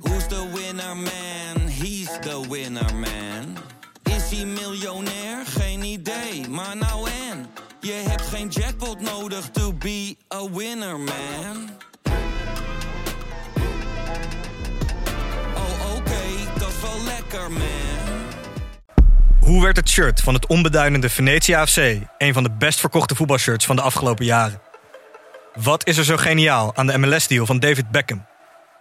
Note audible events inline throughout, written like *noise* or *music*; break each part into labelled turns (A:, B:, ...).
A: Who's the winner man? He's the winner man. Is hij miljonair? Geen idee, maar nou en. Je hebt geen jackpot nodig to be a winner man. Oh oké, dat is wel lekker man.
B: Hoe werd het shirt van het onbeduidende Venetia AFC een van de best verkochte voetbalshirts van de afgelopen jaren? Wat is er zo geniaal aan de MLS-deal van David Beckham?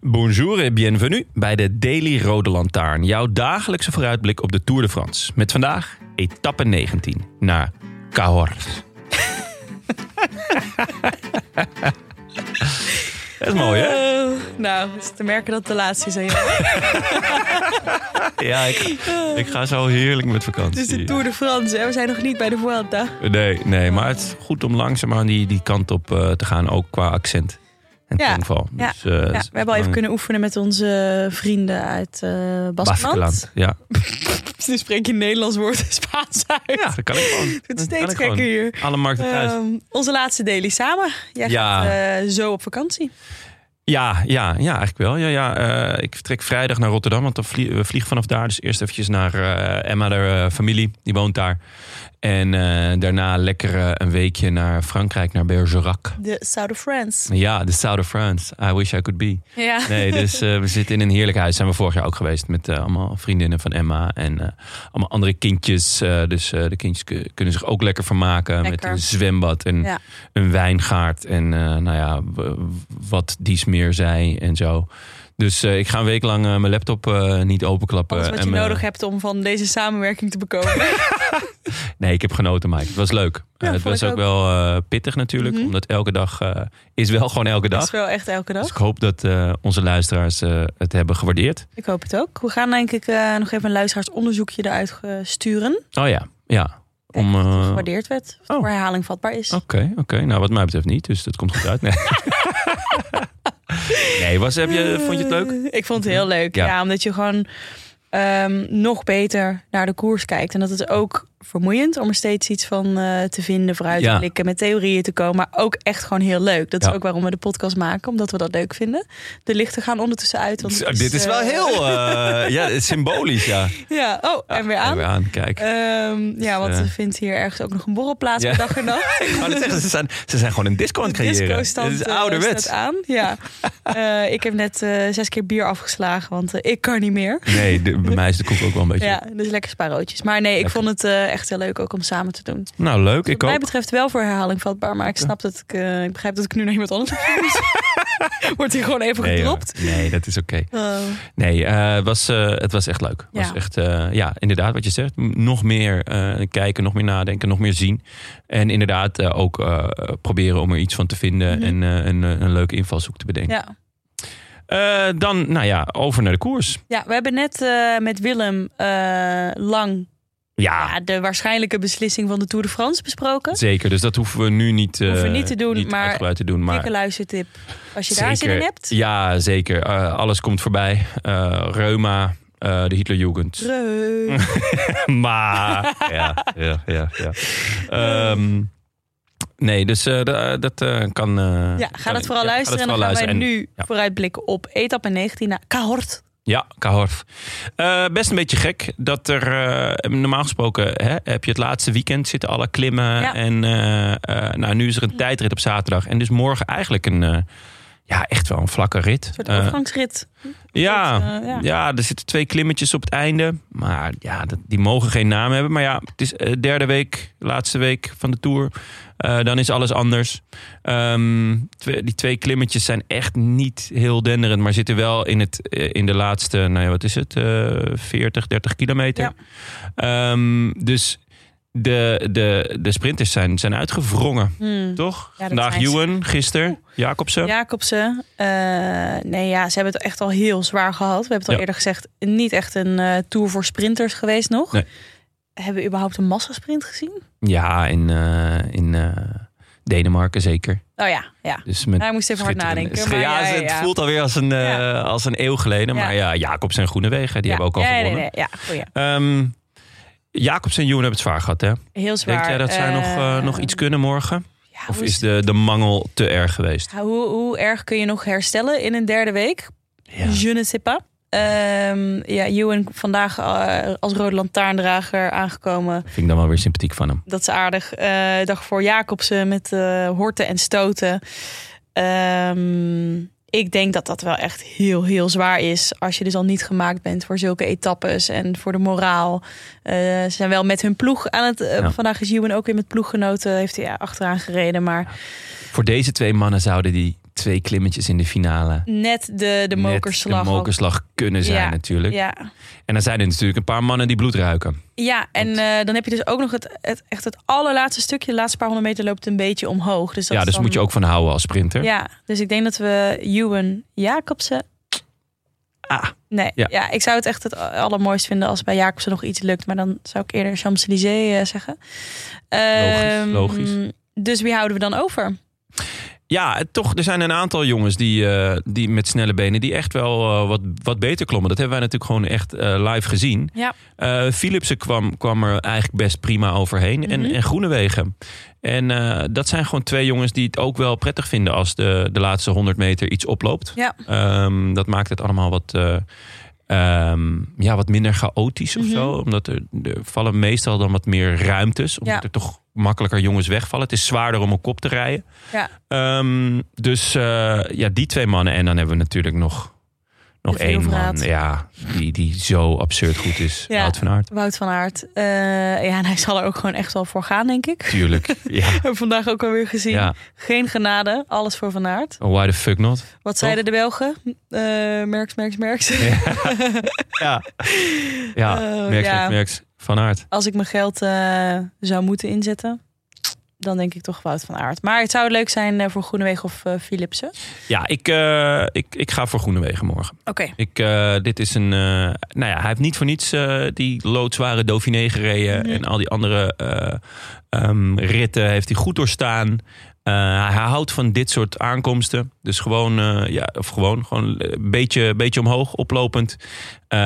C: Bonjour et bienvenue bij de Daily Rode Lantaarn. Jouw dagelijkse vooruitblik op de Tour de France. Met vandaag etappe 19 naar Cahors. *laughs* Dat is mooi, hè?
D: Oh, nou, het is te merken dat het de laatste is. aan jou.
C: Ja, ik, ik ga zo heerlijk met vakantie.
D: Het is de Tour de France. Hè? We zijn nog niet bij de Vuelta.
C: Nee, nee, maar het is goed om langzaamaan die, die kant op eh, te gaan, ook qua accent en
D: Ja,
C: tongval.
D: ja,
C: Dus, eh,
D: Ja,
C: het is
D: we hebben al even
C: belangrijk.
D: kunnen oefenen met onze vrienden uit eh Baskeland. *laughs*
C: Baskeland, ja.
D: Nu spreek je Nederlands woord en Spaans uit.
C: ja, dat kan ik gewoon.
D: Het
C: Dat
D: is
C: kan
D: steeds
C: ik gewoon.
D: gekker hier.
C: Alle markten thuis.
D: Ehm, onze laatste daily samen. Jij
C: Ja.
D: gaat eh, zo op vakantie.
C: Ja, ja, ja, eigenlijk wel. Ja, ja, eh, ik vertrek vrijdag naar Rotterdam, want dan vlie- we vliegen vanaf daar. Dus eerst eventjes naar eh, Emma, haar eh, familie, die woont daar. En eh, daarna lekker eh, een weekje naar Frankrijk, naar Bergerac.
D: De South of France.
C: Ja, the South of France. I wish I could be.
D: Ja.
C: Nee, dus eh, we zitten in een heerlijk huis. Zijn we vorig jaar ook geweest met eh, allemaal vriendinnen van Emma en eh, allemaal andere kindjes. Eh, dus eh, de kindjes ku- kunnen zich ook lekker vermaken met
D: Lekker.
C: een zwembad en
D: Ja.
C: een wijngaard. En eh, nou ja, w- wat dies meer zij en zo. Dus eh, ik ga een week lang eh, mijn laptop eh, niet openklappen.
D: Alles wat
C: eh, en
D: je
C: mijn-
D: nodig hebt om van deze samenwerking te bekomen.
C: Nee, ik heb genoten, Mike. Het was leuk. Eh, het
D: vond
C: was
D: ik
C: ook,
D: ook.
C: wel eh, pittig natuurlijk, omdat elke dag eh, is wel gewoon elke
D: *laughs* Dat
C: dag.
D: is wel echt elke
C: Dus
D: dag.
C: ik hoop dat eh, onze luisteraars eh, het hebben gewaardeerd.
D: Ik hoop het ook. We gaan denk ik eh, nog even een luisteraarsonderzoekje eruit eh, sturen.
C: Oh ja, ja. Om,
D: Kijken of het
C: eh,
D: gewaardeerd werd. Of de
C: oh.
D: herhaling vatbaar is.
C: Oké, oké. Nou, wat mij betreft niet, dus dat komt goed uit.
D: *laughs*
C: Nee, nee was, heb je, vond je het leuk?
D: Eh, Ik vond het heel leuk.
C: Ja.
D: Ja, omdat je gewoon ehm, nog beter naar de koers kijkt. En dat is ook vermoeiend om er steeds iets van eh, te vinden, vooruit te
C: Ja.
D: blikken, met theorieën te komen. Maar ook echt gewoon heel leuk. Dat
C: Ja.
D: is ook waarom we de podcast maken, omdat we dat leuk vinden. De lichten gaan ondertussen uit. want het
C: Dit is wel
D: eh,
C: heel eh, ja, het is symbolisch, ja.
D: *laughs* Ja, oh, en weer aan.
C: Ja, aan, kijk.
D: Ehm, ja, want
C: eh,
D: er vindt hier ergens ook nog een borrel plaats
C: Ja.
D: per dag en nacht.
C: *laughs* Ik wou net zeggen, ze zijn, ze zijn gewoon een disco aan het
D: De
C: creëren.
D: disco-stand,
C: Het is
D: eh,
C: ouderwets.
D: staat aan.
C: *laughs*
D: Ja. Eh, ik heb net eh, zes keer bier afgeslagen, want eh, ik kan niet meer.
C: Nee, de- bij mij is de koek ook wel een beetje...
D: Ja, dus lekker spaarroodjes. Maar nee, ik
C: Lekker.
D: vond het eh, echt heel leuk ook om samen te doen.
C: Nou, leuk.
D: Wat
C: Ik
D: mij
C: ook.
D: betreft wel voor herhaling vatbaar, maar ik snap dat ik, eh, ik begrijp dat ik nu naar iemand
C: *laughs*
D: anders moet. Wordt hier gewoon even
C: Nee, hoor.
D: gedropt.
C: nee, dat is oké.
D: Eh,
C: Nee, eh, het was, eh, het was echt leuk. Het
D: Ja.
C: was echt, eh, ja, inderdaad, wat je zegt. M- Nog meer eh, kijken, nog meer nadenken, nog meer zien. En inderdaad eh, ook eh, proberen om er iets van te vinden
D: Mhm.
C: en eh, een, eh, een leuke invalshoek te bedenken.
D: ja.
C: Eh, dan, nou ja, over naar de koers.
D: ja, we hebben net eh, met Willem eh, lang
C: Ja,
D: ja, de waarschijnlijke beslissing van de Tour de France besproken.
C: zeker. Dus dat hoeven we nu niet, eh,
D: Hoeven we niet te doen, maar
C: uitgebreid te doen. Maar
D: Dikke luistertip. Als je daar zin in
C: Zeker.
D: hebt.
C: ja, zeker. Eh, alles komt voorbij. Eh, reuma, eh, de Hitlerjugend. Mm.
D: Dreu.
C: Maar. *laughs* ja, ja, ja. ja. Ehm, nee, dus eh, da- dat eh, kan. eh,
D: Ja, ga
C: kan-
D: dat vooral
C: ja, ga
D: luisteren.
C: dat
D: en dan gaan
C: vooral luisteren.
D: wij nu
C: ja.
D: vooruitblikken op etappe 19 naar Cahort.
C: Ja, Cahors. Eh, best een beetje gek dat er. eh, normaal gesproken hè, heb je het laatste weekend zitten alle klimmen.
D: Ja. Mm.
C: En eh, eh, nou, nu is er een tijdrit op zaterdag. En dus morgen eigenlijk een. eh, ja, echt wel een vlakke rit.
D: Een soort
C: Eh,
D: overgangsrit.
C: ja,
D: eh,
C: ja.
D: ja.
C: er zitten twee klimmetjes op het einde. Maar ja, dat, die mogen geen naam hebben. Maar ja, het is eh, derde week, laatste week van de Tour. Eh, dan is alles anders. Ehm, twee- die twee klimmetjes zijn echt niet heel denderend. Maar zitten wel in, het, eh, in de laatste, nou ja, wat is het? eh 40, 30 kilometer. Ehm, dus de, de, de sprinters zijn, zijn uitgewrongen.
D: Hmm.
C: Toch?
D: dat
C: Vandaag
D: zijn ze.
C: Ewan, gisteren Jacobsen.
D: Jacobsen. eh, nee, ja, ze hebben het echt al heel zwaar gehad. We hebben het al
C: Ja.
D: eerder gezegd, niet echt een eh, tour voor sprinters geweest nog.
C: Nee.
D: Hebben we überhaupt een massasprint gezien?
C: Ja, in, eh, in eh, Denemarken zeker.
D: Oh ja, ja.
C: Dus met
D: Hij moest even hard
C: schitterende-
D: nadenken.
C: Schi-
D: Maar
C: ja,
D: ja,
C: het
D: ja.
C: voelt alweer als een, eh,
D: Ja.
C: als een eeuw geleden.
D: Ja.
C: Maar ja, Jacobsen en Groenewegen, die
D: Ja.
C: hebben ook al
D: Ja, nee,
C: gewonnen.
D: nee, nee. Ja, goeie.
C: Ehm, Jacobsen en Joen hebben het zwaar gehad, hè?
D: Heel zwaar.
C: Denk jij dat zij
D: Eh,
C: nog, eh, nog iets kunnen morgen?
D: ja,
C: Of
D: hoe
C: is de, de mangel te erg geweest?
D: Hoe, hoe erg kun je nog herstellen in een derde week? Je ne sais pas. Ehm, ja, Ewan vandaag eh, als rode lantaarndrager aangekomen.
C: Vind ik dan wel weer sympathiek van hem.
D: Dat is aardig. Eh dag voor Jacobsen met eh, horten en stoten. Ehm, ik denk dat dat wel echt heel, heel zwaar is. Als je dus al niet gemaakt bent voor zulke etappes en voor de moraal. Eh, ze zijn wel met hun ploeg aan het... eh,
C: Ja.
D: Vandaag is Ewan ook weer met ploeggenoten. Heeft hij ja, achteraan gereden, maar
C: Voor deze twee mannen zouden die twee klimmetjes in de finale...
D: net de, de
C: net
D: mokerslag.
C: de
D: al-
C: mokerslag kunnen zijn
D: Ja,
C: natuurlijk.
D: Ja,
C: En dan zijn er natuurlijk een paar mannen die bloed ruiken.
D: Ja, en
C: Want-
D: eh, dan heb je dus ook nog het, het, echt het allerlaatste stukje. De laatste paar honderd meter loopt een beetje omhoog. Dus dat
C: ja,
D: is
C: dus
D: dan-
C: moet je ook van houden als sprinter.
D: Ja, dus ik denk dat we Ewan Jacobsen...
C: Ah,
D: Nee,
C: Ja.
D: ja. ik zou het echt het allermooist vinden als bij Jacobsen nog iets lukt. Maar dan zou ik eerder Champs-Élysées eh, zeggen. Ehm,
C: logisch.
D: Dus wie houden we dan over?
C: Ja, eh, toch, er zijn een aantal jongens die, eh, die met snelle benen die echt wel eh, wat, wat beter klommen. Dat hebben wij natuurlijk gewoon echt eh, live gezien.
D: Ja.
C: Eh, Philipsen kwam, kwam er eigenlijk best prima overheen.
D: Mhm.
C: en, en Groenewegen. En eh, dat zijn gewoon twee jongens die het ook wel prettig vinden als de, de laatste 100 meter iets oploopt.
D: Ja.
C: Ehm, dat maakt het allemaal wat, eh, ehm, ja, wat minder chaotisch
D: Mhm.
C: of zo. Omdat er, er vallen meestal dan wat meer ruimtes. Omdat
D: Ja.
C: er toch makkelijker jongens wegvallen. Het is zwaarder om op kop te rijden.
D: Ja.
C: Ehm, dus eh, ja, die twee mannen. En dan hebben we natuurlijk nog, nog
D: De
C: één man.
D: veelvraat.
C: Ja, die, die zo absurd goed is.
D: Ja.
C: Wout van Aert.
D: Wout van Aert. Eh, ja, en hij *laughs* zal er ook gewoon echt wel voor gaan, denk ik. *laughs*
C: Tuurlijk. ja.
D: Hebben we vandaag ook alweer gezien.
C: ja. Oh,
D: Geen genade, alles voor Van Aert.
C: Why the fuck
D: *laughs*
C: not?
D: Wat zeiden de Belgen? Eh, merks, merks, merks.
C: Ja. Ja.
D: *laughs* Eh,
C: merks,
D: ja.
C: merks, merks. Van Aert.
D: Als ik mijn geld eh, zou moeten inzetten, dan denk ik toch Wout van Aert. Maar het zou leuk zijn eh, voor Groenewegen of eh, Philipsen.
C: Ja, ik, eh, ik, ik ga voor Groenewegen morgen.
D: Oké.
C: Ik, eh, dit is een. eh, nou ja, hij heeft niet voor niets eh, die loodzware Dauphiné gereden.
D: Mhm.
C: En al die andere eh, ehm, ritten heeft hij goed doorstaan. Eh, hij houdt van dit soort aankomsten. Dus gewoon, eh, ja, of gewoon, gewoon een beetje, beetje omhoog, oplopend. Eh,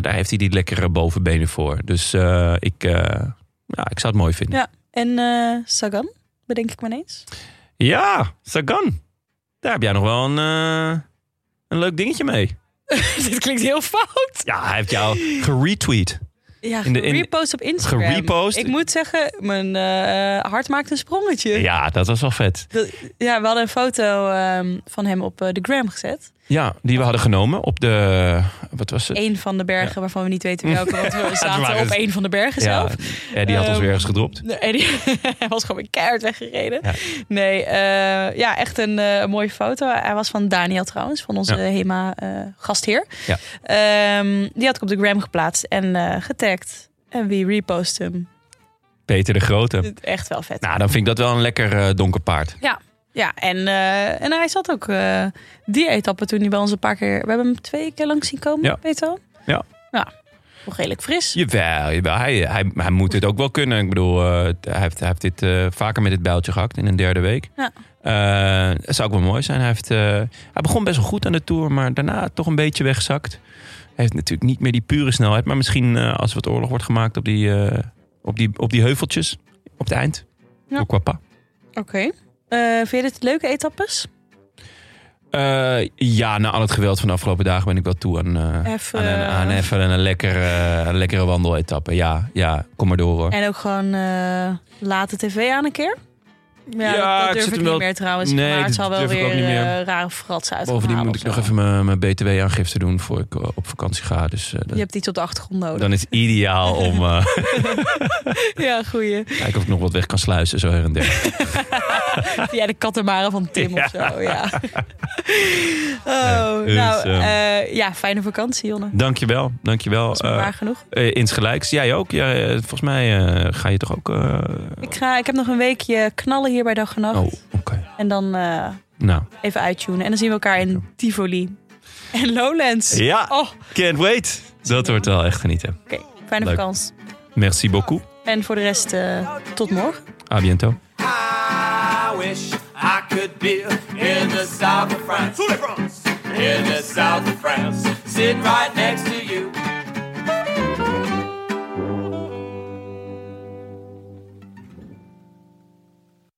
C: daar heeft hij die lekkere bovenbenen voor. Dus eh, ik, eh, ja, ik zou het mooi vinden.
D: Ja. En eh, Sagan, bedenk ik me ineens.
C: Ja, Sagan. Daar heb jij nog wel een, eh, een leuk dingetje mee.
D: *laughs* Dit klinkt heel fout.
C: Ja, hij heeft *laughs* jou geretweet.
D: Ja,
C: In de- in-
D: repost op Instagram.
C: Gerepost?
D: Ik moet zeggen, mijn eh, hart maakt een sprongetje. Ja.
C: Ja, dat was wel vet.
D: we hadden een foto ehm, van hem op eh, de gram gezet.
C: Ja, die we hadden genomen op de. Wat was het?
D: Eén van de bergen waarvan we niet weten welke,
C: *laughs*
D: want we
C: waren
D: zaten op
C: dus-
D: één van de bergen zelf.
C: Ja, die had ons
D: Ehm,
C: weer ergens gedropt.
D: Nee, en die- *laughs* hij was gewoon weer keihard weggereden.
C: Ja.
D: Nee, eh, ja, echt een eh, mooie foto. Hij was van Daniel trouwens, van onze
C: Ja.
D: HEMA-gastheer.
C: Ja.
D: Ehm, die had ik op de gram geplaatst en eh, getagd. En wie repost hem?
C: Peter de Grote.
D: Echt wel vet.
C: Nou, dan vind ik dat wel een lekker eh, donker paard.
D: Ja, en, eh, en hij zat ook eh, die etappe toen hij bij ons een paar keer... We hebben hem twee keer langs zien komen,
C: Ja.
D: weet je wel?
C: Ja.
D: Ja, nog redelijk fris.
C: Jawel, jawel. Hij, hij, hij moet dit ook wel kunnen. Ik bedoel, eh, hij heeft, hij heeft dit eh, vaker met dit bijltje gehakt in een derde week.
D: Ja.
C: Eh, dat zou ook wel mooi zijn. Hij, heeft, eh, hij begon best wel goed aan de Tour, maar daarna toch een beetje weggezakt. Hij heeft natuurlijk niet meer die pure snelheid. Maar misschien eh, als er wat oorlog wordt gemaakt op die, eh, op die, op die heuveltjes op het eind.
D: Ja.
C: Pourquoi pas?
D: Oké. Eh, vind je dit leuke etappes?
C: Eh, ja, na al het geweld van de afgelopen dagen ben ik wel toe aan, eh,
D: Even,
C: aan, een, aan
D: eh,
C: even een, lekkere, eh, een lekkere wandeletappe. Ja, ja, kom maar door hoor.
D: En ook gewoon eh late tv aan een keer. Ja,
C: Ja,
D: dat,
C: ik
D: dat durf
C: zit
D: ik,
C: hem
D: niet
C: wel-
D: meer trouwens.
C: Nee,
D: maar
C: dat
D: het zal wel
C: durf ik
D: weer
C: ook niet meer.
D: eh, rare fratsen uit
C: Bovendien moet ik nog even mijn, mijn btw-aangifte doen voor ik eh, op vakantie ga. Dus eh, dat-
D: Je hebt iets op de achtergrond nodig.
C: dan is het ideaal om
D: *laughs*
C: eh
D: Ja,
C: *laughs*
D: goeie.
C: kijken of ik nog wat weg kan sluizen, zo her en der.
D: Ja, de kattenmaren van Tim of
C: *laughs*
D: zo, ja. Oh,
C: Nee, dus,
D: nou,
C: ehm,
D: eh, ja, fijne vakantie, Jonne.
C: Dankjewel, dankjewel.
D: Dat is me
C: Eh,
D: waar genoeg.
C: eh, insgelijks. Jij ook. Ja, eh, volgens mij eh, ga je toch ook... eh,
D: Ik, ga, ik heb nog een weekje knallen hier bij Dag en Nacht.
C: Oh, oké.
D: En dan eh,
C: Nou,
D: even uittunen. En dan zien we elkaar in Tivoli en Lowlands.
C: Ja.
D: Oh, oké.
C: can't wait. Dat wordt wel echt genieten.
D: Fijne
C: Leuk.
D: vakantie.
C: Merci beaucoup.
D: En voor de rest, eh, tot morgen.
C: A bientôt.
E: I wish I could be in the south of France. In the south of France. Sitting right